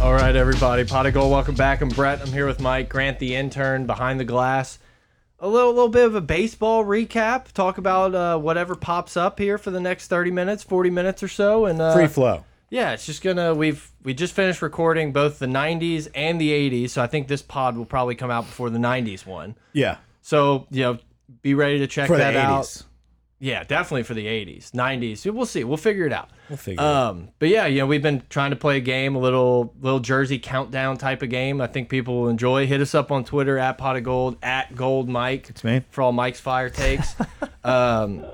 All right, everybody. Pot of Gold, welcome back. I'm Brett. I'm here with Mike Grant, the intern behind the glass. A little, little bit of a baseball recap. Talk about uh, whatever pops up here for the next 30 minutes, 40 minutes or so. And uh, Free flow. yeah, it's just gonna. We've we just finished recording both the 90s and the 80s, so I think this pod will probably come out before the 90s one. Yeah. So you know, be ready to check For that the out. 80s. Yeah, definitely for the 80s, 90s. We'll see. We'll figure it out. We'll figure it out. Um, but yeah, you know, we've been trying to play a game, a little little Jersey countdown type of game. I think people will enjoy. Hit us up on Twitter at Pot of Gold at Gold Mike. It's me. for all Mike's fire takes. um,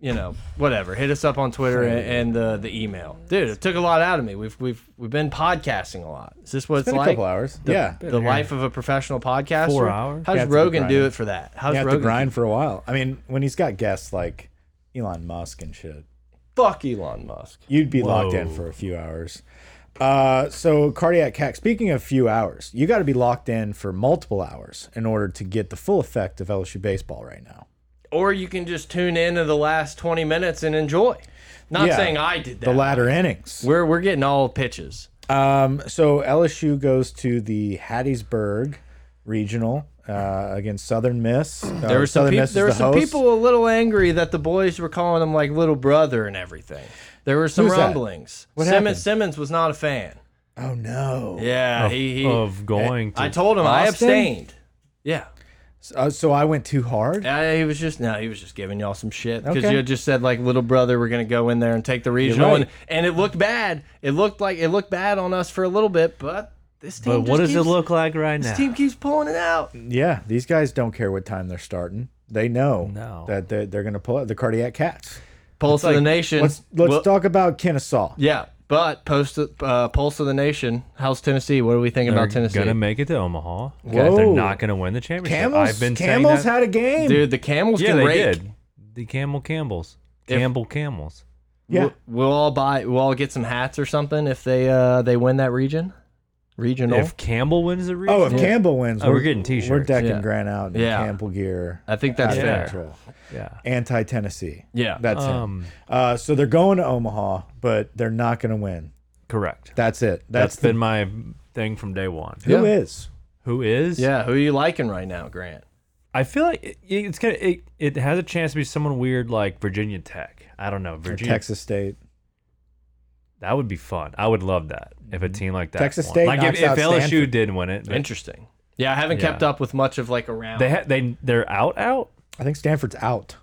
you know, whatever. Hit us up on Twitter and, and the the email, dude. It took a lot out of me. We've we've we've been podcasting a lot. Is this what it's, Been like? a couple hours. yeah. The life of a professional podcaster. Four hours? How's Yeah, it's been Rogan do grinding. it for that? How's You have to Rogan? grind for a while. I mean, when he's got guests like Elon Musk and shit, Fuck Elon Musk. you'd be locked in Whoa. for a few hours. Uh, so cardiac hack. Speaking of few hours, you got to be locked in for multiple hours in order to get the full effect of LSU baseball right now. Or you can just tune in to the last twenty minutes and enjoy. Not Yeah. saying I did that. The latter innings. We're we're getting all pitches. Um, so LSU goes to the Hattiesburg regional uh, against Southern Miss. Uh, There were some, Southern peop- Miss is there were the some host. people a little angry that the boys were calling him like little brother and everything. There were some Who's that? rumblings. What Simmons happened? Simmons was not a fan. Oh no. Yeah, of, he, he of going to I told him I oh, Austin? abstained. Yeah, Uh, so I went too hard. Uh, he was just no, he was just giving y'all some shit because Okay. you just said like little brother, we're gonna go in there and take the regional, right. and and it looked bad. It looked like it looked bad on us for a little bit, but this team. but what just does keeps- it look like right now This team keeps pulling it out. Yeah, these guys don't care what time they're starting. They know No. that they're, they're going to pull out the cardiac cats. Pulse of the nation. Let's let's Well- talk about Kennesaw. Yeah, but post uh, pulse of the nation. How's Tennessee? What are we thinking they're about Tennessee? gonna make it to omaha Whoa. they're not gonna win the championship Camels, i've been saying Camels that. had a game. Dude, the Camels yeah can they rake. did the camel camels campbell camels yeah, We'll, we'll all buy. We'll all get some hats or something if they uh they win that region, regional. if campbell wins the region Oh, if Campbell wins, Oh, we're we're- getting t-shirts. We're decking Yeah. Grant out in Yeah. Campbell gear. I think that's Out of fair. control. yeah Anti Tennessee. Yeah. that's um him. Uh, so they're going to Omaha, but they're not going to win. correct That's it. That's, that's the been my thing from day one who is. Yeah. who is yeah, who are you liking right now, Grant? i feel like it, it's gonna it, it has a chance to be someone weird like virginia tech i don't know Or virginia Texas State. That would be fun. I would love that if a team like that. Texas won. State like knocks if, if out LSU Stanford. did win it, but Interesting. Yeah, I haven't kept Yeah. up with much of like around. they ha they they're out out. I think Stanford's out.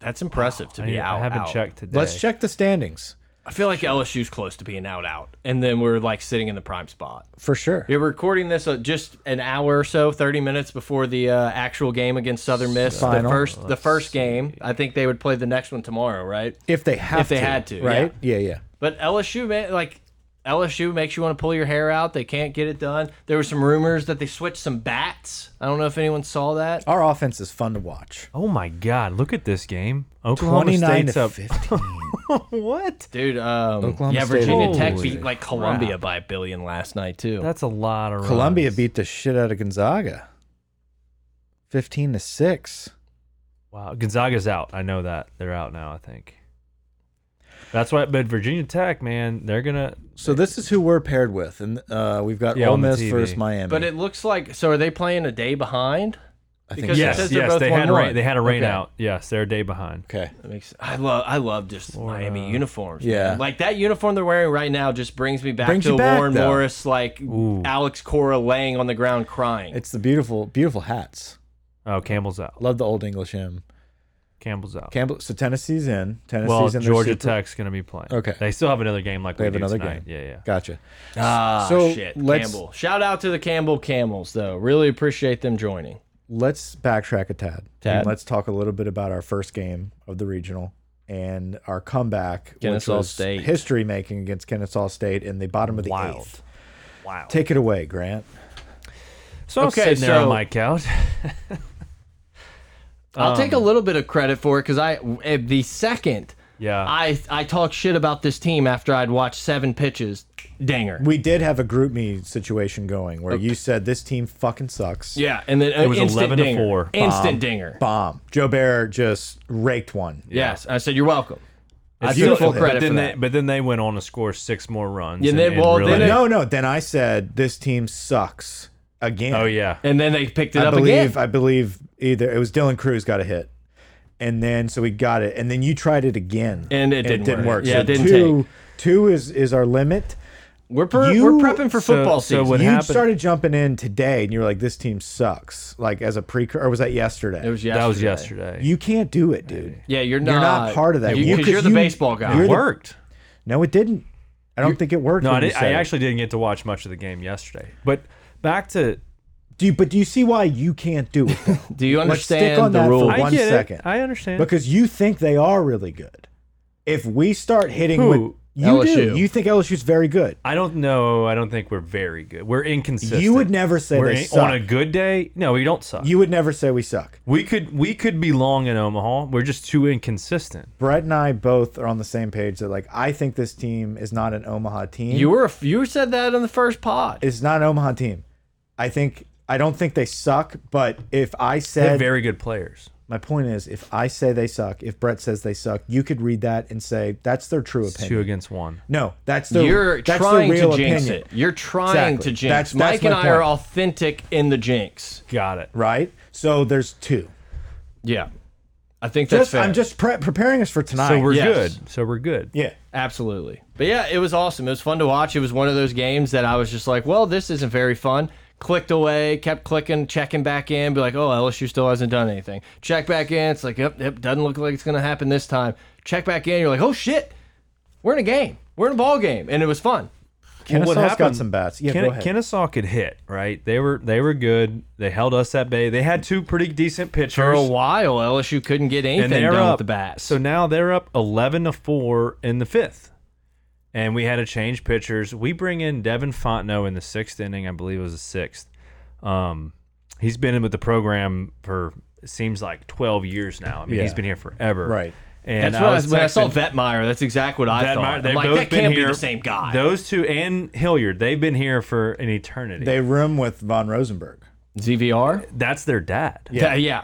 That's impressive to I- be I out. haven't out. checked today. Let's check the standings I feel like LSU's close to being out, out, and then we're like sitting in the prime spot. for sure. You're recording this uh, just an hour or so, 30 minutes before the uh, actual game against Southern Miss. The Final. first, the first game. I think they would play the next one tomorrow, right? If they have, If they to, had to, right? Yeah, yeah. But LSU, man, like LSU makes you want to pull your hair out. They can't get it done. There were some rumors that they switched some bats. I don't know if anyone saw that. Our offense is fun to watch. Oh my God! Look at this game. Oklahoma 29 State's to up. 15. what? Dude, um, Oklahoma yeah, State. Virginia Tech Holy beat like Columbia by a billion last night too. That's a lot of runs. Columbia beat the shit out of Gonzaga. 15 to 6. Wow, Gonzaga's out. I know that they're out now. I think. That's why. But Virginia Tech, man, they're gonna. So this is who we're paired with and uh, we've got Yeah, Ole on the Miss TV. versus Miami. but it looks like so. Are they playing a day behind? I think because so. it Yes, says they're yes, both they had, one rain, one. they had a rain Okay. out. Yes, they're a day behind. Okay. That makes I love I love just Miami uniforms. Yeah. man. like that uniform they're wearing right now just brings me back Brings to you back, Warren though. Morris, like Alex Cora laying on the ground crying. It's the beautiful beautiful hats. Oh, Campbell's out. Love the old English hymn. Campbell's out. Campbell so Tennessee's in. Tennessee's well, in their Georgia super- Tech's gonna be playing. Okay. They still have another game. Like They we have do another tonight. game. Yeah, yeah. Gotcha. ah, so shit, let's- Campbell. Shout out to the Campbell Camels though. Really appreciate them joining. Let's backtrack a tad. Tad. And let's talk a little bit about our first game of the regional and our comeback Kennesaw which was State. history making against Kennesaw State in the bottom of the Wild. eighth. Wow. Take it away, Grant. So I'm Okay, sitting there so- on my couch. I'll take a little bit of credit for it because I eh, the second Yeah. I I talked shit about this team after I'd watched seven pitches. Danger. We did have a group me situation going where you said this team fucking sucks. yeah, and then it was 11 to 4. Instant dinger. Bomb. Joe Bear just raked one. Yes, I said you're welcome. I you give feel full it, credit but then for they, that. But then they went on to score six more runs. Yeah, and, they- and well, really- then it- no, no. Then I said this team sucks again. oh yeah, And then they picked it I up believe again. I believe either it was Dylan Cruz got a hit, and then so we got it, and then you tried it again, And it didn't work. Yeah, so it didn't two, Two is is our limit. We're, per, You- we're prepping for so- football so season. What you happened- started jumping in today, and you were like, "This team sucks." Like as a pre, or was that yesterday? it was yesterday. that was yesterday. you can't do it, dude. Yeah, you're not. You're not part of that. You, You because could- you, are the you- baseball guy. you're it the- worked. No, it didn't. I don't think it worked. No, I, when you did, said I it. actually didn't get to watch much of the game yesterday. But back to do. You, but do you see why you can't do it? though? Do you Let's stick understand on the that for rule? one I get second. It. I understand. because you think they are really good. If we start hitting Who? with you do, LSU. you think LSU's very good. I don't know. I don't think we're very good. We're inconsistent. You would never say We're they in- suck. on a good day. No, we don't suck. You would never say we suck. we could we could be long in Omaha. We're just too inconsistent. Brett and I both are on the same page that like I think this team is not an Omaha team. You were a f- you said that on the first pod. it's not an Omaha team. I think I don't think they suck, but if I They have said very good players. my point is if I say they suck, if Brett says they suck, you could read that and say that's their true Two opinion. against one. No, that's their You're that's trying their real to jinx opinion. it. You're trying Exactly. to jinx. That's- Mike that's my and I are point. authentic in the jinx. Got it. Right? So there's two. Yeah, I think that's Just, fair. I'm just pre preparing us for tonight. So we're Yes. good. So we're good. yeah. Absolutely. But yeah, it was awesome. It was fun to watch. It was one of those games that I was just like, well, this isn't very fun. Clicked away, kept clicking, checking back in, be like, oh, LSU still hasn't done anything. Check back in. It's like, yep, yep, doesn't look like it's going to happen this time. Check back in. You're like, oh, shit, we're in a game. We're in a ball game. And it was fun. Kennesaw's what got happened- some bats. Yeah, Ken- go ahead. Kennesaw could hit, right? They were they were good. They held us at bay. They had two pretty decent pitchers. For a while, LSU couldn't get anything and they're done up with the bat. So now they're up eleven to four in the fifth, and we had to change pitchers. We bring in Devin Fontenot in the sixth inning, I believe it was the sixth. Um, he's been in with the program for it seems like twelve years now. I mean, he's Yeah. been here forever, Right. And that's what I, was when I saw texting- Vetmeyer, that's exactly what I that thought. might- I'm they've like, both that been can't here. be the same guy. Those two and Hilliard, they've been here for an eternity. they room with Von Rosenberg. ZVR? That's their dad. Yeah. yeah.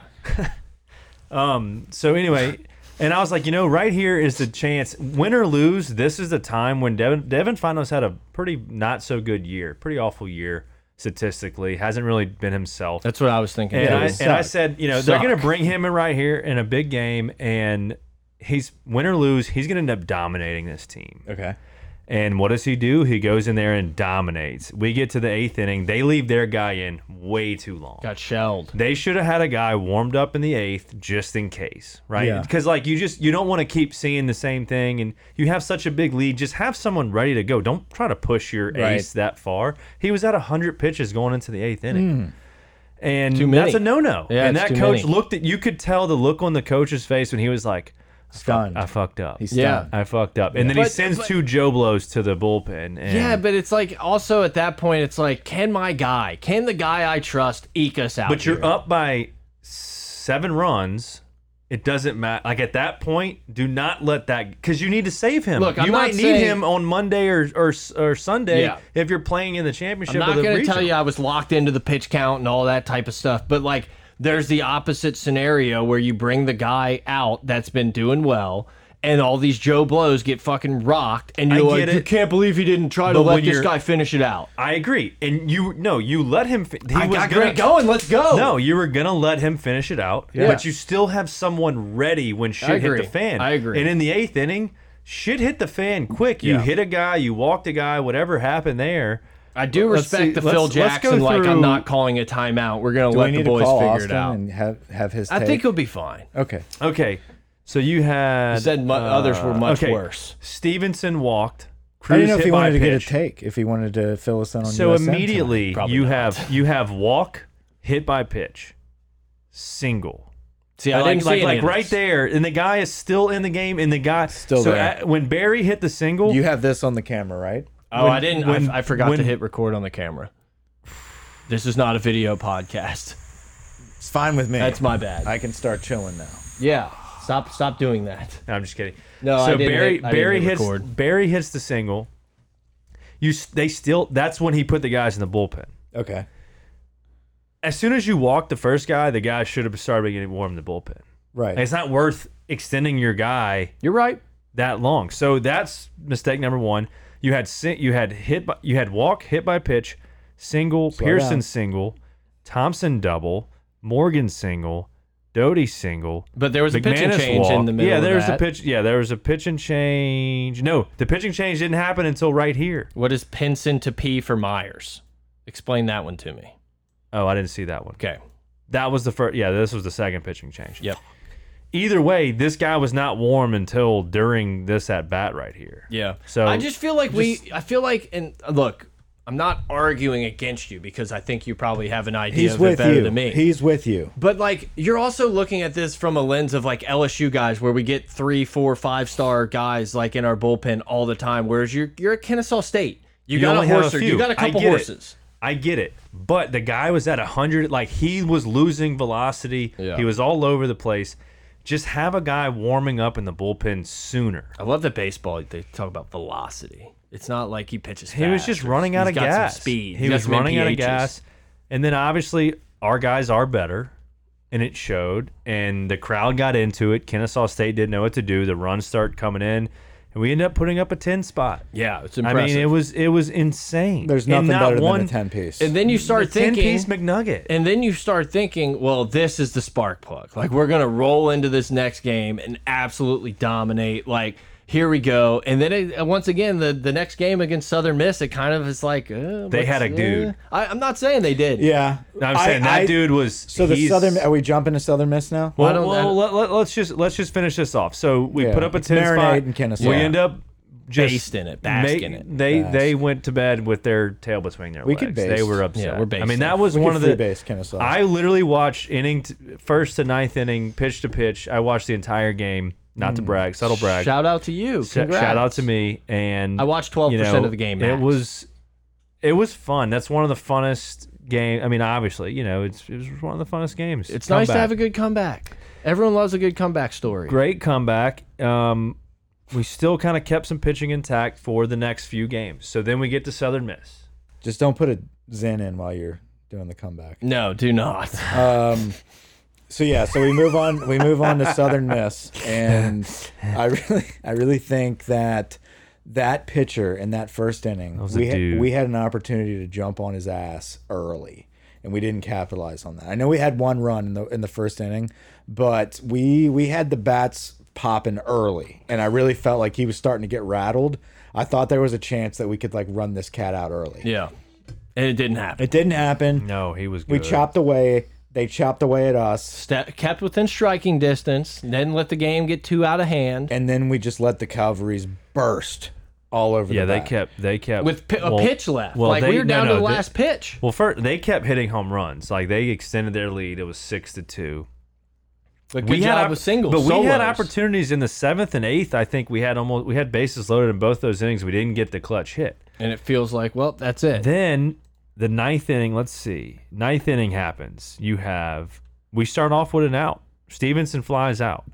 So anyway, and I was like, you know, right here is the chance. Win or lose, this is the time when Devin Devin Finals had a pretty not so good year, pretty awful year statistically. Hasn't really been himself. That's what I was thinking. and, too. I, it and I sucked. said, you know, they're going Suck. to bring him in right here in a big game, and he's win or lose, he's going to end up dominating this team. Okay. And what does he do? He goes in there and dominates. We get to the eighth inning. They leave their guy in way too long. Got shelled. They should have had a guy warmed up in the eighth just in case, right? Yeah. Because like you just you don't want to keep seeing the same thing, and you have such a big lead. Just have someone ready to go. Don't try to push your Right. ace that far. He was at hundred pitches going into the eighth inning, and Hmm. Too many. that's a no no. Yeah, and it's that too coach many. looked at you could tell the look on the coach's face when he was like, "I fuck- Stunned. I fucked up. He's Yeah. done. I fucked up." And then he But- sends but- two Joe blows to the bullpen. And Yeah, but it's like also at that point, it's like, can my guy, can the guy I trust eke us out? But you're here? up by seven runs. It doesn't matter. Like at that point, do not let that because you need to save him. Look, you I'm not might need saying- him on Monday or or, or Sunday Yeah. if you're playing in the championship. I'm not or the going to regional. tell you I was locked into the pitch count and all that type of stuff, but like there's the opposite scenario where you bring the guy out that's been doing well. And all these Joe blows get fucking rocked, and you're I like, get you it. can't believe he didn't try to But let when this you're- guy finish it out. I agree, and you no, you let him. Fi- he I was got gonna, great going. Let's go. No, you were gonna let him finish it out, but you still have someone ready when I shit hit agree. the fan. I agree. And in the eighth inning, shit hit the fan quick. You Yeah. hit a guy, you walked a guy, whatever happened there. I do Let's respect see- the Phil let's- let's go Jackson. like, I'm through- not calling a timeout. We're gonna Do let we the need boys to call figure Austin it out. and have have his? I take? think he'll be fine. okay. Okay, so you had uh, said mu- others were much okay. worse. Stevenson walked. Cruz I didn't know if hit he by wanted to get a pitch. take. If he wanted to fill us in on So USM tonight. immediately Probably you not. have you have walk, hit by pitch, single. See, I like didn't see like, any like of right this. there, and the guy is still in the game, and the guy Still so there. at- when Barry hit the single, you have this on the camera, right? Oh, When- I didn't. when- I, I forgot to when- hit record on the camera. This is not a video podcast. It's fine with me. That's my bad. I can start chilling now. yeah, stop, stop doing that. No, I'm just kidding. No, I so didn't Barry hit- I didn't Barry hit hits record. Barry hits the single. You s- they still that's when he put the guys in the bullpen. Okay. As soon as you walk the first guy, the guy should have started getting warm in the bullpen. Right. It's not worth extending your guy You're right. that long. So that's mistake number one. You had si- you had hit by, you had walk hit by pitch, single Pearson down. single, Thompson double, Morgan single, Doty single. But there was a pitching McManus change in walk. the middle. Yeah, of there was that. a pitch. Yeah, there was a pitch and change. No, the pitching change didn't happen until right here. What is Pinson to P for Myers? Explain that one to me. Oh, I didn't see that one. Okay. That was the first. Yeah, this was the second pitching change. Yep. Either way, this guy was not warm until during this at bat right here. Yeah. So- I just feel like we. I feel like, and uh, look, I'm not arguing against you because I think you probably have an idea He's of it with better you. than me. He's with you. But like you're also looking at this from a lens of like LSU guys, where we get three, four, five star guys like in our bullpen all the time. Whereas you're you're at Kennesaw State, you, You got a only have horse, or few. you got a I couple get it. horses. I get it, but the guy was at hundred. Like he was losing velocity. Yeah. He was all over the place. Just have a guy warming up in the bullpen sooner. I love that baseball. They talk about velocity. It's not like he pitches. He was fast just or running he's out of got some gas. speed. He He's got was some running out of MPHs. gas. And then obviously our guys are better, and it showed. And the crowd got into it. Kennesaw State didn't know what to do. The runs start coming in, and we end up putting up a ten spot. Yeah, it's I impressive. mean, it was it was insane. There's And nothing not better one, than a ten piece. and then you a start ten thinking piece McNugget. And then you start thinking, well, this is the spark plug. Like we're gonna roll into this next game and absolutely dominate. Like here we go. And then it, uh, once again, the the next game against Southern Miss, it kind of is like uh, They what's- had a uh, dude. I, I'm not saying they did. yeah, No, I'm saying that I- dude was So the he's- southern. Are we jumping to Southern Miss now? I Well, don't- I well don't- let, let, us just let's just finish this off. So we Yeah, put up a it's ten spot. marinade in Kennesaw. We Yeah. end up just Bask in it, bask ma- in it. They Bask. they went to bed with their tail between their We legs. could They bask. were upset. Yeah, we're I mean basting. that was We could one of free the base Kennesaw. I literally watched inning t first to ninth inning, pitch to pitch. I watched the entire game. Not Mm. to brag, subtle brag. Shout out to you. Sh- Congrats. shout out to me and I watched 12% you know, of the game, It max. was it was fun. That's one of the funnest game. I mean, obviously, you know, it's it was one of the funnest games. It's nice to have a good comeback. Everyone loves a good comeback story. great comeback. Um, we still kind of kept some pitching intact for the next few games. So then we get to Southern Miss. Just don't put a Zen in while you're doing the comeback. No, do not. Um, so yeah, so we move on. We move on to Southern Miss, and I really, I really think that that pitcher in that first inning, was a we had, dude. we had an opportunity to jump on his ass early, and we didn't capitalize on that. I know we had one run in the in the first inning, but we we had the bats popping early, and I really felt like he was starting to get rattled. I thought there was a chance that we could like run this cat out early. yeah. And it didn't happen. It didn't happen. No, he was good. We chopped away. They chopped away at us. Ste- kept within striking distance, didn't let the game get too out of hand. and then we just let the Calvaries burst all over. Yeah, the they bat. kept. They kept With pi a well- pitch left. well, like, they- we were no, down no, to the they- last pitch. Well, first they kept hitting home runs. Like they extended their lead. It was six to two. But good job opp- with singles. but we had solos. opportunities in the seventh and eighth. I think we had almost we had bases loaded in both those innings. We didn't get the clutch hit. and it feels like, well, that's it. Then the ninth inning, let's see. Ninth inning happens. You have we start off with an out. Stevenson flies out.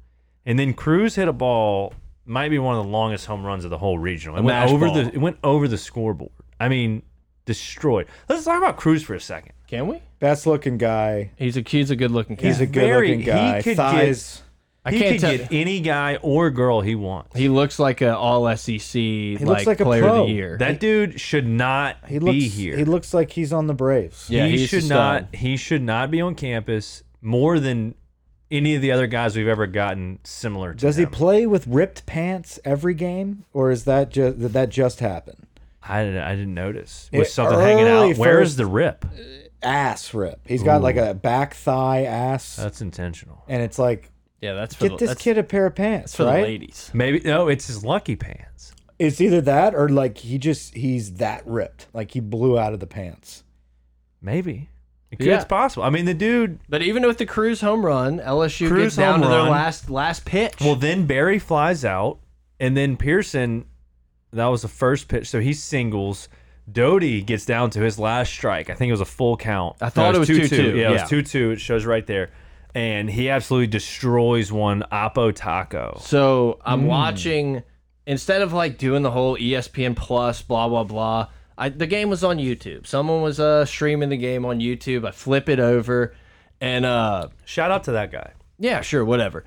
And then Cruz hit a ball, might be one of the longest home runs of the whole regional. It A went mash over ball. the it went over the scoreboard. I mean, destroyed. Let's talk about Cruz for a second. Can we? best looking guy. He's a he's a good looking He's cat. a good very- looking guy. he could Thighs. I he can't could tell- get any guy or girl he wants. he looks like a all SEC looks like, like a player pro. of the year. That dude should not he looks. be here. He looks like he's on the Braves. yeah, he he's a should stud. um, not he should not be on campus more than any of the other guys we've ever gotten similar to Does he him. play with ripped pants every game, or is that just did that just happen? I didn't, I didn't notice. With It- something hanging Eh, early out. Where's first- the rip? Ass rip. He's got like a back thigh ass, That's intentional. and it's like Yeah, that's for get the, this that's, kid a pair of pants, that's for the right? ladies. Maybe no, it's his lucky pants. It's either that or like he just he's that ripped, like he blew out of the pants. Maybe. It could- Yeah. It's possible. I mean, the dude. But even with the Cruz home run, LSU Cruz gets down home to their run. last last pitch. Well, then Barry flies out, and then Pearson. That was the first pitch, so he singles. Doty gets down to his last strike. I think it was a full count. I thought No, it was 2-2. Yeah, it Yeah. was two two. It shows right there, and he absolutely destroys one Oppo Taco. So I'm watching instead of like doing the whole E ESPN Plus blah blah blah. I, the game was on YouTube. Someone was uh, streaming the game on YouTube. I flip it over, and uh, Shout out to that guy. yeah, sure, whatever.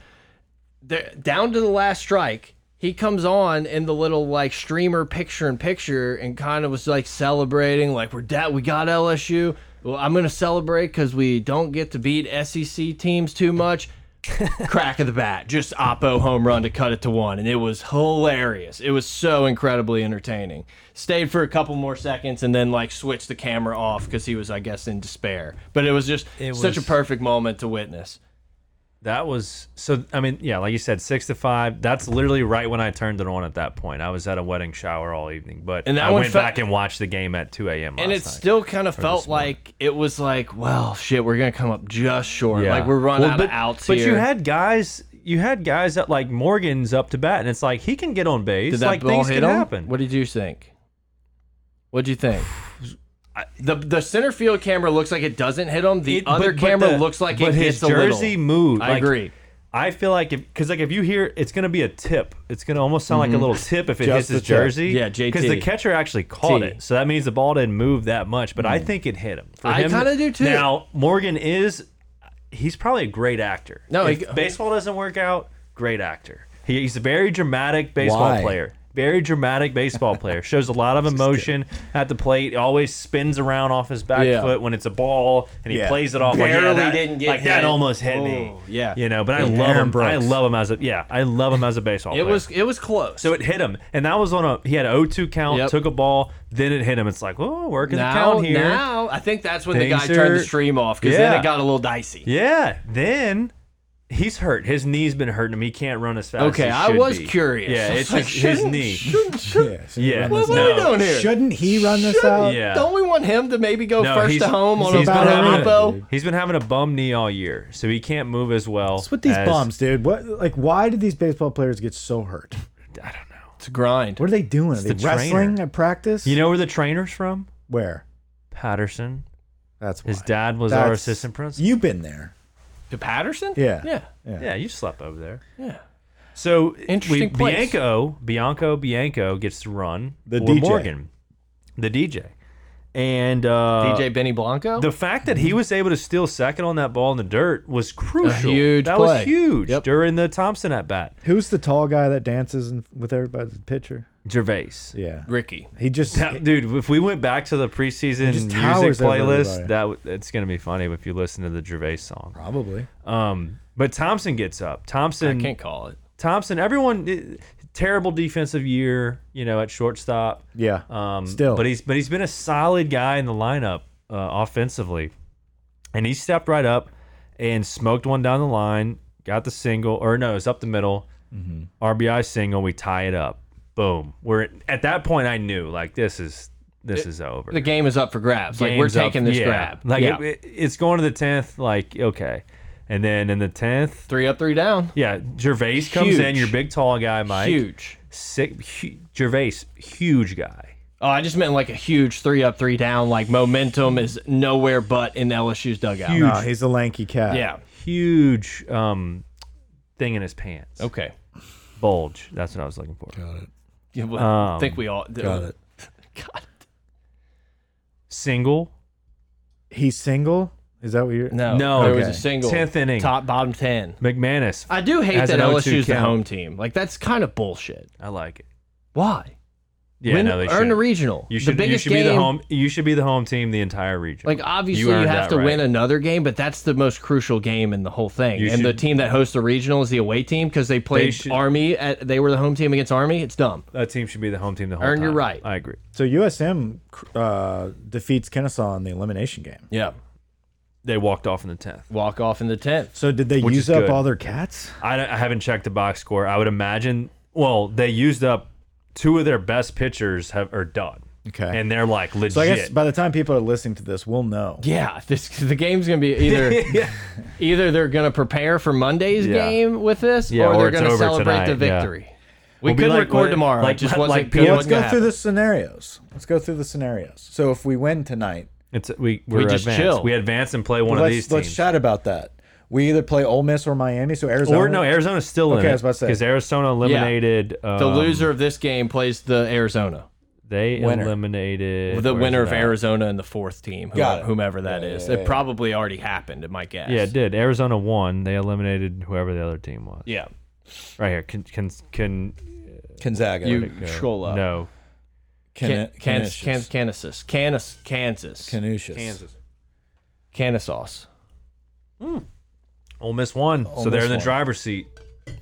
They're down to the last strike, he comes on in the little like streamer picture in picture and kind of was like celebrating like we're dead we got LSU well I'm gonna celebrate because we don't get to beat SEC teams too much crack of the bat just oppo home run to cut it to one and it was hilarious it was so incredibly entertaining stayed for a couple more seconds and then like switched the camera off because he was I guess in despair but it was just It such a was- perfect moment to witness That was so. I mean, yeah, like you said, six to five. That's literally right when I turned it on. At that point, I was at a wedding shower all evening, but And that I one went fe- back and watched the game at two a.m. and last it night. still kind of felt like it was like, well, shit, we're gonna come up just short. Like we're running Well, out but, of outs But here. you had guys, you had guys that like Morgan's up to bat, and it's like he can get on base. did that like ball things hit can him? happen. What did you think? What would you think? the the center field camera looks like it doesn't hit him. The It- other but- but camera the- looks like but it his hits a little. jersey moved. I Like, agree. I feel like if because like if you hear it's gonna be a tip, it's gonna almost sound like a little tip if it Just hits the his tip. jersey. Mm-hmm. Yeah, JT. Because the catcher actually caught T. Mm. it, so that means the ball didn't move that much. But I think it hit him. For I him- kinda do, too. Now Morgan is, he's probably a great actor. No, if he- baseball doesn't work out, great actor. He, he's a very dramatic baseball Why? player. Very dramatic baseball player. Shows a lot of emotion at the plate. Always spins around off his back Yeah. foot when it's a ball, and he Yeah. plays it off like, yeah, Barely that, didn't get like that hit. almost hit me. Oh, yeah. you know. But I Yeah, love Aaron him. Brooks. I love him as a yeah. I love him as a baseball. It player. was it was close. so it hit him, and that was on a he had an 0-2 count, Yep. took a ball, then it hit him. It's like oh, working the now, count here. now I think that's when the Things guy turned the are- stream off because then Yeah. it got a little dicey. Yeah, then. He's hurt. His knee's been hurting him. He can't run as fast. Okay, as he I should was be. curious. I Yeah, was it's like, his, his shouldn't- knee. shouldn't- shouldn't- Yeah. shouldn't he Yeah. run Well, this what out? are we No. doing here? Shouldn't he run this out? Yeah. Don't we want him to maybe go No, first he's- to home on he's a been on having a it, oppo? dude. He's been having a bum knee all year, so he can't move as well. What's with these as- bums, dude? What like why did these baseball players get so hurt? I don't know. It's a grind. What are they doing? Are they the wrestling trainer. at practice? You know where the trainer's from? where? Patterson. That's why. His dad was our That's- assistant principal. You've been there. To Patterson? Yeah. Yeah. yeah, you slept over there. Yeah. So Interesting we, place. Bianco, Bianco, Bianco gets to run The for DJ. Morgan, the DJ, and uh, DJ Benny Blanco? The fact that he was able to steal second on that ball in the dirt was crucial. huge that play. was huge Yep. during the Thompson at bat. Who's the tall guy that dances in, with everybody? The pitcher. Gervais. Yeah. Ricky. He just That- dude, if we went back to the preseason just music towers over playlist, everybody. that w- it's gonna be funny if you listen to the Gervais song. probably. Um, but Thompson gets up. I Thompson can't call it. Thompson, everyone, eh, terrible defensive year, you know, at shortstop. Yeah. Um, Still. but he's but he's been a solid guy in the lineup uh, offensively, and he stepped right up and smoked one down the line, got the single, or no, it's up the middle, Mm-hmm. RBI single. We tie it up. Boom. We're at that point. I knew like this is this is over. The game is up for grabs. Like, we're Game's up- taking this yeah. grab. Like yeah. it- it- it's going to the tenth. Like okay, and then in the tenth, three up, three down. yeah, Gervais comes Huge. in, your big tall guy, Mike. Huge. Sick, hu Gervais, huge guy. Oh, I just meant like a huge three up, three down. Like, momentum is nowhere but in LSU's dugout. no, Uh, he's a lanky cat. Yeah. Huge um, thing in his pants. Okay. Bulge. That's what I was looking for. Yeah, well, I Um, think we all Got it. God. Single. He's single? Is that what you're No. No, There was okay. a single. 10th inning. Top, bottom 10. McManus. I, I do hate Has that an 0-2 LSU's the count. home team. Like, that's kind of bullshit. like it. Why? Yeah, Win- no, they earn should. a regional. you should, the you biggest should be the game- home. You should be the home team the entire region. Like obviously you, have to win another game, but that's the most crucial game in the whole thing. You and the should- team that hosts the regional is the away team because they played should- Army. At, they were the home team against Army. It's dumb. That team should be the home team the whole Earn time. your right. I agree. So USM uh, defeats Kennesaw in the elimination game. Yeah. They walked off in the tenth. Walk off in the tenth. So did they Which use is up good. all their cats? I, don't- I haven't checked the box score. I would imagine. Well, they used up two of their best pitchers have are done. Okay. and they're like legit. So I guess by the time people are listening to this, we'll know. Yeah, this the game's gonna be either either they're gonna prepare for Monday's Yeah. game with this, Yeah, or, or they're it's gonna over celebrate the tonight, yeah. victory. We We'll be could like, record what- tomorrow. like- it just like- wasn't like good. Yeah, It Well, let's wasn't go gonna through happen. the scenarios. Let's go through the scenarios. So if we win tonight, It's we we're just advanced. chill. We advance and play one of let's these let's teams. chat about that. We either play Ole Miss or Miami. So Arizona. or no, Arizona's still in Okay, it. I was about to say. because Arizona eliminated The um, loser of this game plays the Arizona. They Winner. eliminated The where winner is of it at? Arizona and the fourth team, Got whomever, it. whomever that is. yeah, It probably already happened, at my guess. Yeah, it did. Arizona won. They eliminated whoever the other team was. Yeah. Right here. Can can can Gonzaga. You scroll up. No, Can, Can- Kansas, Kansas, Canisius. Kansas, Kansas, Kansas, Canisius. Kansas. Kansas. Ole Miss won, so they're Miss in the won. driver's seat.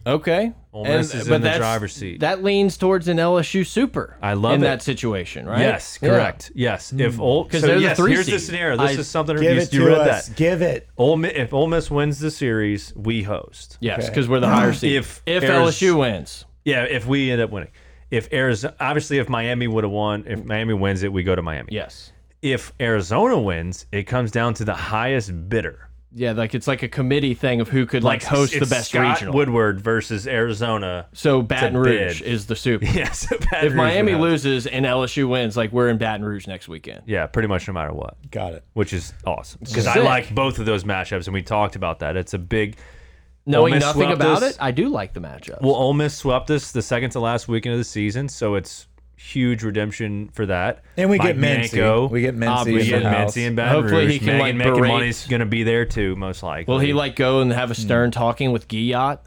Okay. Ole Miss is in the that's- driver's seat. That leans towards an LSU super. I love in it. that situation, right? Yes, Yeah. correct. Yes, if Ole because Because they're the yes, three here's the seed. scenario. This I- is something Give you, it you to read us. that. Give it. Ole Miss, if Ole Miss wins the series, we host. Yes, because we're the higher seed. If if Ariz- LSU wins, Yeah, if we end up winning. If Arizona, obviously, if Miami would have won, if Miami wins it, we go to Miami. yes, If Arizona wins, it comes down to the highest bidder. yeah, like it's like a committee thing of who could like, It's- host the it's best Scott regional. Woodward versus Arizona. so Baton Rouge bid. is the super. Yes. if Miami loses and LSU wins, like we're in Baton Rouge next weekend. yeah, pretty much no matter what. Got it. which is awesome because I Sick. like both of those matchups, and we talked about that. It's a big. Knowing Miss nothing swept about us. it, I do like the matchup. Well, Ole Miss swept us the second to last weekend of the season, so it's huge redemption for that. And we Mike get Mincy. Bianco, We get Mincy. Obviously. in we the get house. Mincy and Baton Hopefully he Rouge. can, Megan like, Making berate- Money's going to be there too, most likely. Will he like go and hmm. have a stern talking with Guyot?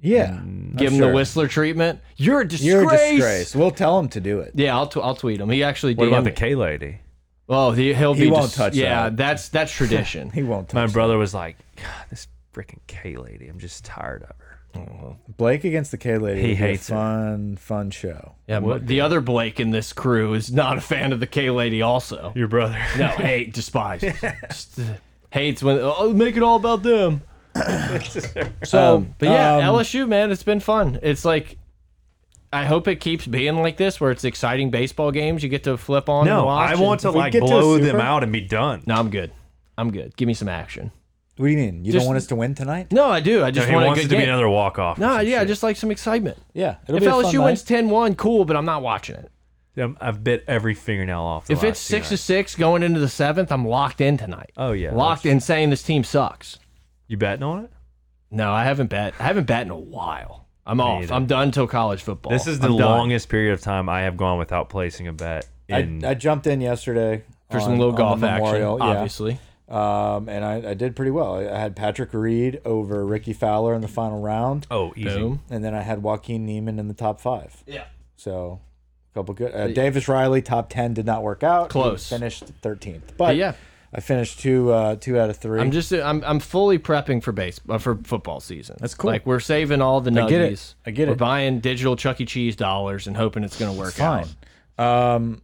Yeah. Mm. Give him sure. the Whistler treatment. You're a disgrace. You're a disgrace. We'll tell him to do it. Yeah, I'll, t- I'll tweet him. He actually What did. about the K lady? Oh, he, he'll He be. won't dis- touch Yeah, that. that's that's tradition. He won't My touch brother was like, God, this freaking K lady. I'm just tired of her. Blake against the K lady. He would be a hates it. fun, fun show. yeah, but the other Blake in this crew is not a fan of the K lady. Also, Your brother. no, hate, despise, Just, uh, hates when oh, make it all about them. so, Um, but yeah, um, LSU man, it's been fun. It's like. I hope it keeps being like this, where it's exciting baseball games you get to flip on. and No, watch I and- want to we like get to a blow them super- out and be done. No, I'm good. I'm good. Give me some action. What do you mean? You Just- don't want us to win tonight? No, I do. I just he want a wants it good to be game. another walk off. no, yeah, I just like some excitement. Yeah. It'll if be a fun LSU night. wins 10-1, cool, but I'm not watching it. Um, I've bit every fingernail off. The If it's last two six to nights. six going into the seventh, I'm locked in tonight. Oh, yeah, locked in saying this team sucks. you betting on it? No, I haven't bet. I haven't bet in a while. I'm off. either. I'm done till college football. This is the I'm done. longest period of time I have gone without placing a bet. I, In, I jumped in yesterday for on- some little on golf the action, Memorial, yeah. obviously. Um, and I, I did pretty well. I I had Patrick Reed over Ricky Fowler in the final round, oh, easy. Boom. and then I had Joaquin Neiman in the top five. Yeah. So, a couple good. Uh, Davis Riley top ten did not work out. He Close. finished thirteenth, but yeah. I finished two uh, two out of 3 I'm just I'm I'm fully prepping for base uh, for football season. That's cool. Like we're saving all the nuggies. get it. I get we're it. buying digital Chuck E. Cheese dollars and hoping it's going to work fine. out. Um,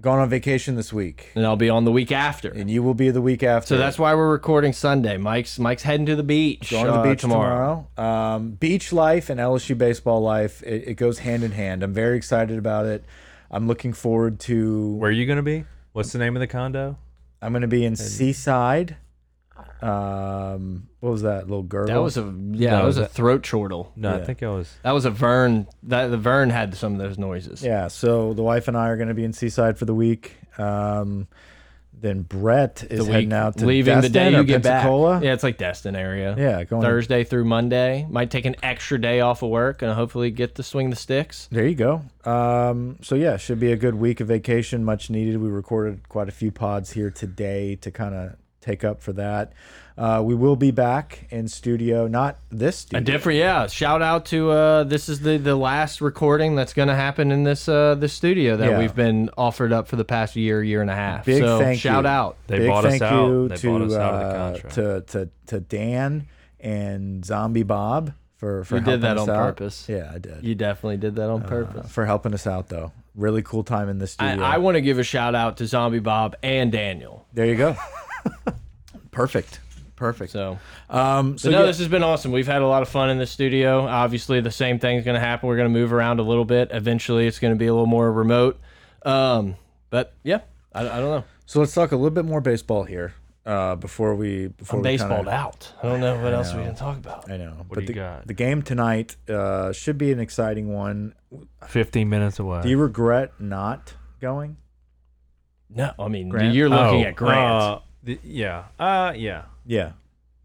going on vacation this week, And I'll be on the week after. and you will be the week after. So that's why we're recording Sunday. Mike's Mike's heading to the beach. going to the uh, beach tomorrow. Um, beach life and LSU baseball life it, it goes hand in hand. I'm very excited about it. I'm looking forward to Where are you going to be? What's the name of the condo? I'm gonna be in Seaside. Um, what was that little girl? That was a yeah. that was a throat chortle. No, I think I was. That was a Vern. That the Vern had some of those noises. yeah. So the wife and I are gonna be in Seaside for the week. Um, then Brett is The heading week- out to leaving the Destin day or you get Pensacola. back. Yeah, it's like Destin area. Yeah, going to- Thursday through Monday. Might take an extra day off of work and hopefully get to swing the sticks. There you go. Um, so yeah, should be a good week of vacation, much needed. We recorded quite a few pods here today to kind of take up for that. Uh, we will be back in studio, not A this studio. different yeah. Shout out to uh, this is the the last recording that's going to happen in this uh this studio that Yeah. we've been offered up for the past year year and a half. Big so thank shout you. out. They Big bought us thank out. you They to, bought us out of the uh, contract. to to to Dan and Zombie Bob for for You did helping that us on out. purpose. Yeah, I did You definitely did that on Uh, purpose. for helping us out though. Really cool time in the studio. I, I want to give a shout out to Zombie Bob and Daniel. there you go. Perfect. Perfect. So, um, so but no, yeah, this has been awesome. We've had a lot of fun in the studio. Obviously, the same thing's going to happen. We're going to move around a little bit. Eventually, it's going to be a little more remote. Um, but yeah, I, I don't know. So let's talk a little bit more baseball here uh, before we before I'm we kinda- baseballed out. I don't know what else we can talk about. I know, but you the, got? the game tonight uh, should be an exciting one. 15 minutes away. Do you regret not going? No, I mean Grant? you're looking Oh, at Grant. uh, the- yeah. Uh, yeah. Yeah,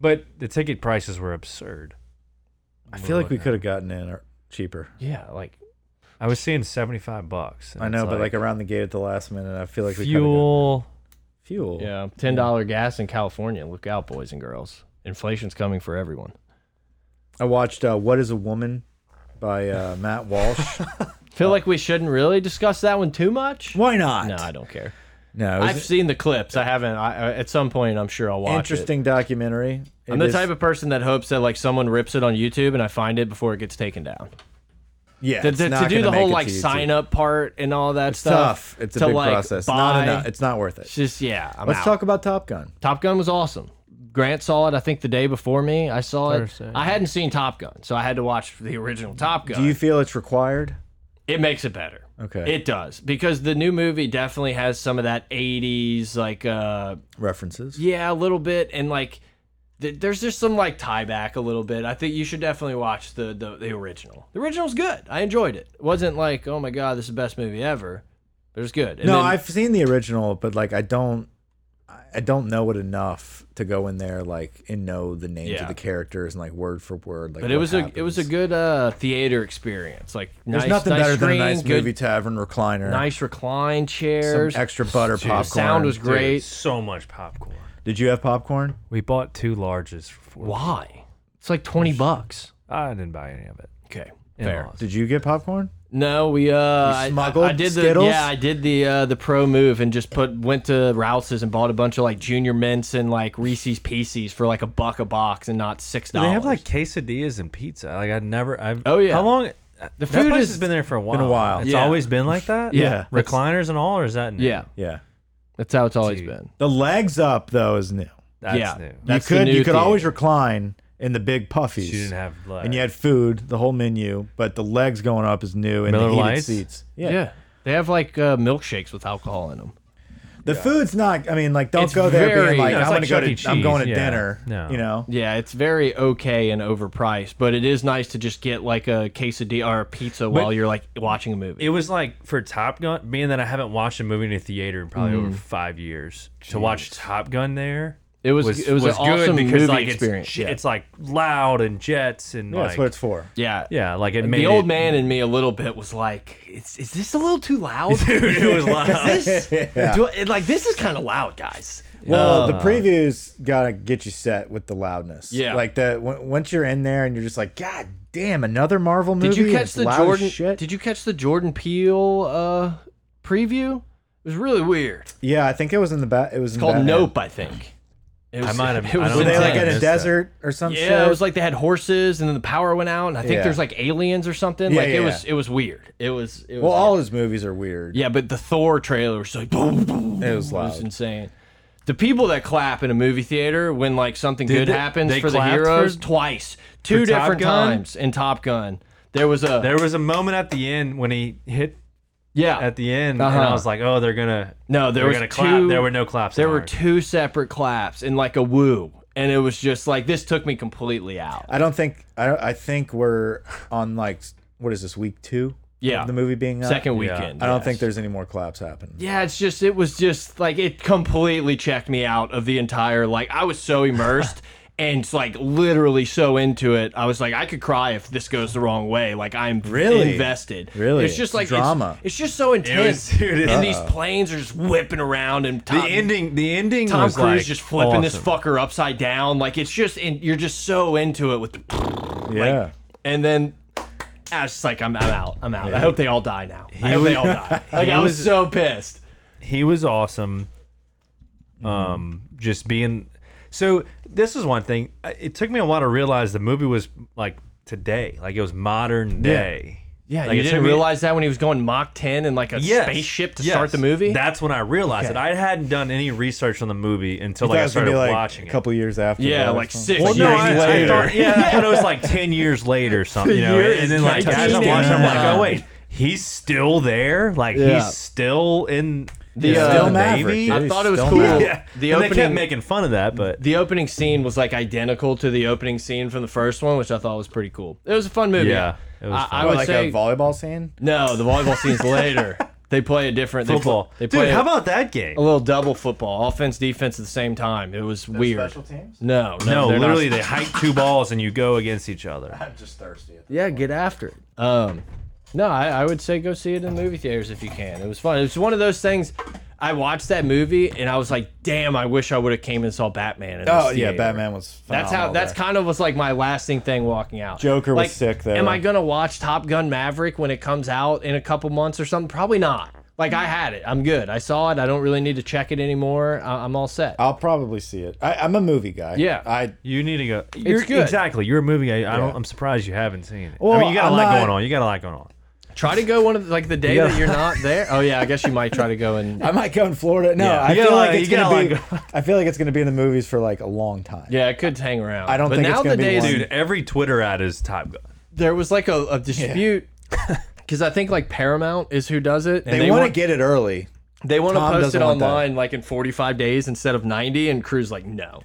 But the ticket prices were absurd. I feel like we could have gotten in or- cheaper. yeah, like I was seeing 75 bucks. and I know, it's but like around the gate at the last minute, I feel like we coulda got- fuel. fuel. yeah, ten dollar gas in California. Look out, boys and girls. Inflation's coming for everyone. I watched uh, What Is a Woman by uh, Matt Walsh. Feel like we shouldn't really discuss that one too much. Why not? No, I don't care. No, it was I've seen the clips. I haven't. I, I- at some point, I'm sure I'll watch it. interesting documentary. I'm It the is- type of person that hopes that like someone rips it on YouTube and I find it before it gets taken down. yeah, To, it's to- to not do gonna the make whole it like to YouTube. sign up part and all that It's stuff. tough. It's a to, big like, process. Buy, Not enough. It's not worth It's it. just yeah. I'm Let's out. talk about Top Gun. Top Gun was awesome. Grant saw it, I think, the day before me. I saw Thursday. it. I hadn't seen Top Gun, so I had to watch the original Top Gun. Do you feel it's required? It makes it better. Okay. It does. Because the new movie definitely has some of that 80s, like, uh, References. yeah, a little bit. And, like, th there's just some, like, tie back a little bit. I think you should definitely watch the, the, the original. The original's good. I enjoyed it. It wasn't like, oh my God, this is the best movie ever. But it's good. And no, then- I've seen the original, but like I don't, I don't know it enough to go in there like and know the names Yeah. of the characters and like word for word. Like, But it what was a it was a happens. good uh, theater experience. Like There's nice, nothing nice better screen, than a nice good, movie tavern recliner. nice recline Some chairs. extra butter popcorn. sound was Dude, great. so much popcorn. Did you have popcorn? We bought two larges for four. Why? It's like twenty bucks. I didn't buy any of it. Okay, Fair. fair. Did you get popcorn? No, we uh, I- smuggled I, I did Skittles? the yeah, I did the uh, the pro move and just put went to Rouse's and bought a bunch of like Junior Mints and like Reese's Pieces for like a buck a box and not six They dollars. have like quesadillas and pizza. Like I've never. I've, Oh, yeah. How long? The food place is- has been there for a while. a while. It's Yeah. always been like that. Yeah. Recliners and all, or is that new? yeah, Yeah. that's how it's always Dude. been. The legs up though is new. That's yeah, new. that's you the could new you could theater. always recline in the big puffies. She didn't have legs. and you had food, the whole menu, but the legs going up is new and Miller the heated Lights? seats. yeah. They have like uh, milkshakes with alcohol in them. The food's not. I mean, like, don't It's go there very- being like, No, it's I'm like gonna go Chuck to, E. I'm going to Cheese, yeah. dinner. No. You know, Yeah, it's very okay and overpriced, but it is nice to just get like a quesadilla or a pizza while you're like watching a movie. it was like for Top Gun, being that I haven't watched a movie in a theater in probably over five years, to watch Top Gun Mm. there. It was- it was an awesome movie like experience, It's, yeah. it's like loud and jets and Yeah, like that's what it's for. yeah, yeah, like it made The old it- man in me a little bit was like, "Is, is this a little too loud? Dude, it was loud. Is this do I- like this is kind of loud, guys." Well, the previews gotta get you set with the loudness. Yeah. like the w once you're in there and you're just like, God damn, another Marvel movie. Did you and catch it's the loud as Jordan? Shit. Did you catch the Jordan Peele uh, preview? It was really weird. It's yeah, I think it was in the back. It was in called Batman. Nope, I think. It was, might have- It I was don't uh, Were they like in I intense. a missed that. desert or some shit? Yeah, it was like they had horses, and then the power went out, and I think Yeah. there's like aliens or something. Yeah, like it yeah, was, it was weird. It was, it was well, weird. all his movies are weird. yeah, but the Thor trailer was like, boom, boom, It was boom. loud. insane. The people that clap in a movie theater when like something good they- happens they for the clapped heroes for- twice, two Top different Gun? times in Top Gun. There was a There was a moment at the end when he hit yeah at the end, and I Uh-huh. was like, oh, they're gonna no there they're was gonna two, clap. There were no claps. there in were ours. two separate claps and like a woo, and it was just like this took me completely out. I don't think I. I think we're on like what is this week two? Yeah. of the movie Uh, being up? Second weekend, I don't yes. think there's any more claps happening. Yeah, it's just it was just like it completely checked me out of the entire like I was so immersed and it's, like literally so into it. I was like I could cry if this goes the wrong way. Like I'm Really? invested. Really? It's just like It's it's- drama. It's, just so intense. dude, it- and these planes are just whipping around and the Tom, ending. The ending Tom was Cruise like just flipping this awesome. fucker upside down. Like it's just and you're just so into it with the Yeah. and then I was just like I'm, I'm out. I'm out. I hope they all die now. I hope they all die. Like I was was- so pissed. he was awesome. Mm-hmm. Um, just being so. This is one thing. I- It took me a while to realize the movie was like today, like it was modern day. Yeah, Like, you it took didn't me- realize that when he was going Mach 10 in like a Yes, spaceship to yes. start the movie? That's when I realized it. I hadn't done any research on the movie until Thought like it I was gonna started be, like, watching a it. couple years after. yeah, that or like something. six Well, years no, I, I later. thought, yeah, I thought it was like ten years later, or something, you know. year is And then like as I'm 19. watching, I'm like, Yeah. oh wait, he's still there. Like Yeah. he's still in The, uh, still Still Maverick, Navy? dude. I thought it was Don't cool. matter. Yeah. The and opening they kept making fun of that, but the opening scene was like identical to the opening scene from the first one, which I thought was pretty cool. It was a fun movie. Yeah, it was I, I fun. What, would like say a volleyball scene. no. The volleyball scene's later. They play a different they pl- football. They Dude, play a- how about that game? a little double football, offense, defense at the same time. It was weird. teams. No, No, no, they're not- literally they hike two balls and you go against each other. I'm just thirsty. Yeah, get after it. Um, no, I, I would say go see it in movie theaters if you can. It was fun. It's one of those things. I watched that movie and I was like, damn, I wish I would have came and saw Batman. In the Oh yeah, theater. Batman was. That's how. phenomenal That's there. kind of was like my lasting thing walking out. Joker was Like, sick, though. Am I gonna watch Top Gun Maverick when it comes out in a couple months or something? Probably not. Like I had it. I'm good. I saw it. I don't really need to check it anymore. I I'm all set. I'll probably see it. I, I'm a movie guy. Yeah. I You need to go. You're, good. Exactly. You're a movie guy. I don't, I'm surprised you haven't seen it. I Well, mean, you got a I'm lot not- going on. You got a lot going on. Try to go one of the, like the day Yeah. that you're not there. Oh yeah, I guess you might try to go and I might go in Florida. No, Yeah. I You gotta feel let- like it's you gotta gonna be. let I feel like it's gonna be in the movies for like a long time. yeah, it could hang around. I don't but think it's now gonna the be days, one. Dude, every Twitter ad is Top Gun. there was like a, a dispute because I think like Paramount is who does it. And They, want to get it early. They want to Tom post doesn't it want that. online like in 45 days instead of 90, and Crew's like, no.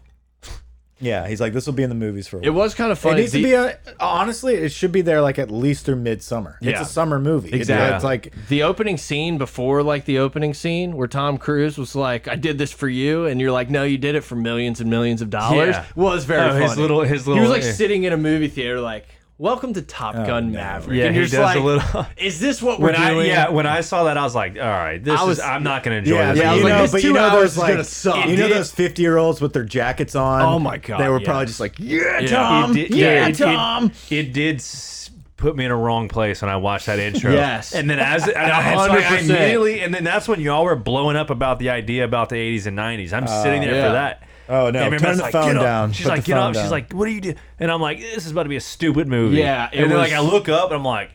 Yeah, he's like, this will be in the movies for. a It while. was kind of It funny. needs to The- be a, honestly, it should be there like at least through midsummer. Yeah. It's a summer movie. It's- Exactly. It's like the opening scene before like the opening scene where Tom Cruise was like, I did this for you, and you're like, no, you did it for millions and millions of dollars Yeah. was very Oh, funny. his little- his He little- was like yeah. sitting in a movie theater like, welcome to Top Gun no. Maverick. Yeah, and he you're just does a like, little- is this what we're When I doing? yeah, when I saw that, I was like, all right, this I was- is. I'm not gonna enjoy yeah, this. I but was you like, know, this but you two know hours those is like gonna suck. you know It those fifty year olds with their jackets on. Oh my God, They were yeah. probably just like, yeah, Yeah, Tom, it did- yeah, it- it- Tom. It, did s- put me in a wrong place when I watched that intro. Yes. and then as and I, it's like I 100%. immediately, and then that's when y'all were blowing up about the idea about the 80s and 90s. I'm sitting there yeah. for that. Oh, no, And Uh, turn it's the phone "Get up." down, She's put like, the get up. phone down. She's like, what do you do? And I'm like, this is about to be a stupid movie. Yeah, it and then like I was- look up and I'm like,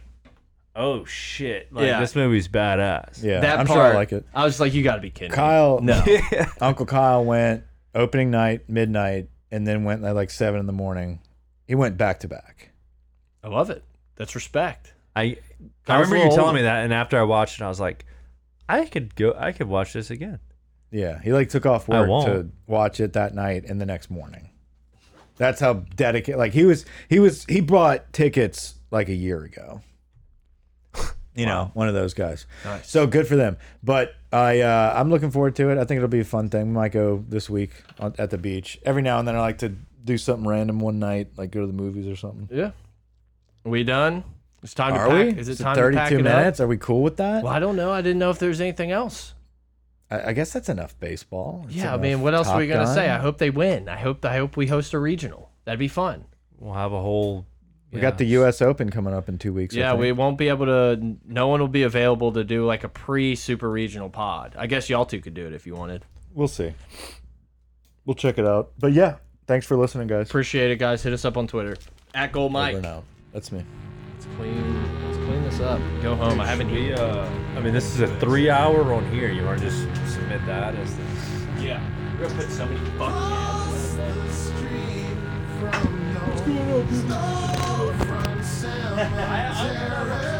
oh shit, like Yeah. this movie's badass. Yeah, that I'm part, sure I like it. I was like, you got to be kidding. me." Kyle, no. Uncle Kyle went opening night, midnight, and then went at like seven in the morning. He went back to back. I love it. That's respect. I I Kyle's remember a you little telling older. me that, and after I watched it, I was like, I could go, I could watch this again. Yeah, he like took off I work won't. to watch it that night and the next morning. That's how dedicated. Like he was, he was, he bought tickets like a year ago. You know, one of those guys. Nice. So good for them. But I, uh, I'm looking forward to it. I think it'll be a fun thing. We might go this week on, at the beach. Every now and then, I like to do something random one night, like go to the movies or something. Yeah. Are we done? It's time Are to we? pack. Is it Is it time to 32 pack it up? minutes? Are we cool with that? Well, I don't know. I didn't know if there was anything else. I, I guess that's enough baseball. That's yeah, I enough mean, what else are Top we gonna Gun. say? I hope they win. I hope I hope we host a regional. That'd be fun. We'll have a whole. we got the U.S. Open coming up in two weeks. I yeah, think. we won't be able to. No one will be available to do like a pre super regional pod. I guess y'all two could do it if you wanted. we'll see. We'll check it out. But yeah, thanks for listening, guys. Appreciate it, guys. Hit us up on Twitter at Gold Mike. Over and out. That's me. Let's clean. Let's clean this up. Go home. I haven't eaten. We, uh, I mean, this is a three-hour on here. You want to just submit that as this? Yeah, we're gonna put so many fucking Across the street from no- no from San Mateo.